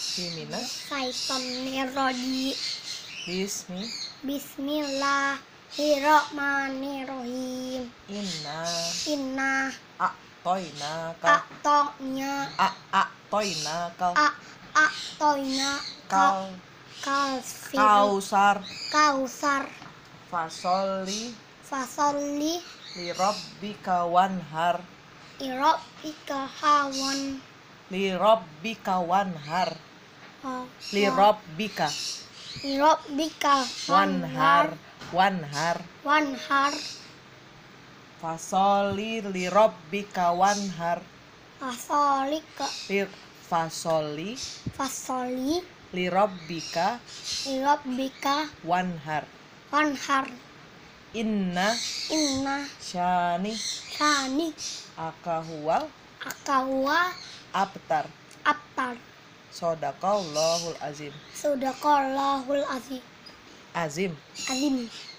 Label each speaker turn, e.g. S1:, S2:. S1: Yumina,
S2: Syaitonirrodi
S1: Bismi,
S2: Bismillahirrohmanirrohim
S1: Inna,
S2: Inna
S1: Aktoina, Kal,
S2: aktonya
S1: A, Aktoina, Kal,
S2: ak aktonya
S1: Kal,
S2: kalsir
S1: Kausar,
S2: kausar
S1: Fasoli,
S2: fasolli
S1: Lirabbika wanhar,
S2: irobika hawan
S1: Lirabbika wanhar,
S2: ha-
S1: Lirabbika
S2: irobika
S1: wanhar, wanhar,
S2: wanhar
S1: Fasoli, Lirabbika wanhar,
S2: fasolika
S1: Lir, Fasoli,
S2: fasolli
S1: Lirabbika
S2: irobika
S1: wanhar,
S2: wanhar
S1: Inna,
S2: inna
S1: Shani,
S2: kani
S1: akahuwal
S2: akawa
S1: abtar
S2: aptar
S1: sodakallahul azim
S2: sudah kolahul azim
S1: azim
S2: azim